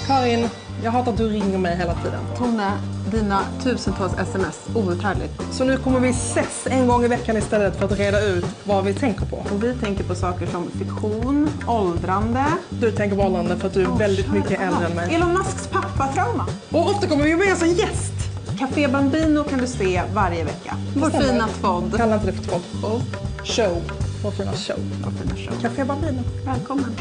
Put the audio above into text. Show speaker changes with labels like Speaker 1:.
Speaker 1: Karin, jag hatar att du ringer mig hela tiden.
Speaker 2: Tone, dina tusentals sms, outhärdligt.
Speaker 1: Så nu kommer vi ses en gång i veckan istället för att reda ut vad vi tänker på.
Speaker 2: Och vi tänker på saker som fiktion, åldrande.
Speaker 1: Du tänker på åldrande för att du är väldigt mycket äldre än mig.
Speaker 2: Elon Musks pappatrauma.
Speaker 1: Och ofta kommer vi med oss en gäst!
Speaker 2: Café Bambino kan du se varje vecka. Vår
Speaker 1: stämmer.
Speaker 2: fina tvådd.
Speaker 1: Kalla inte det för tvång.
Speaker 2: Och
Speaker 1: Show. Vår fina show.
Speaker 2: vår fina show.
Speaker 1: Café Bambino.
Speaker 2: Välkommen.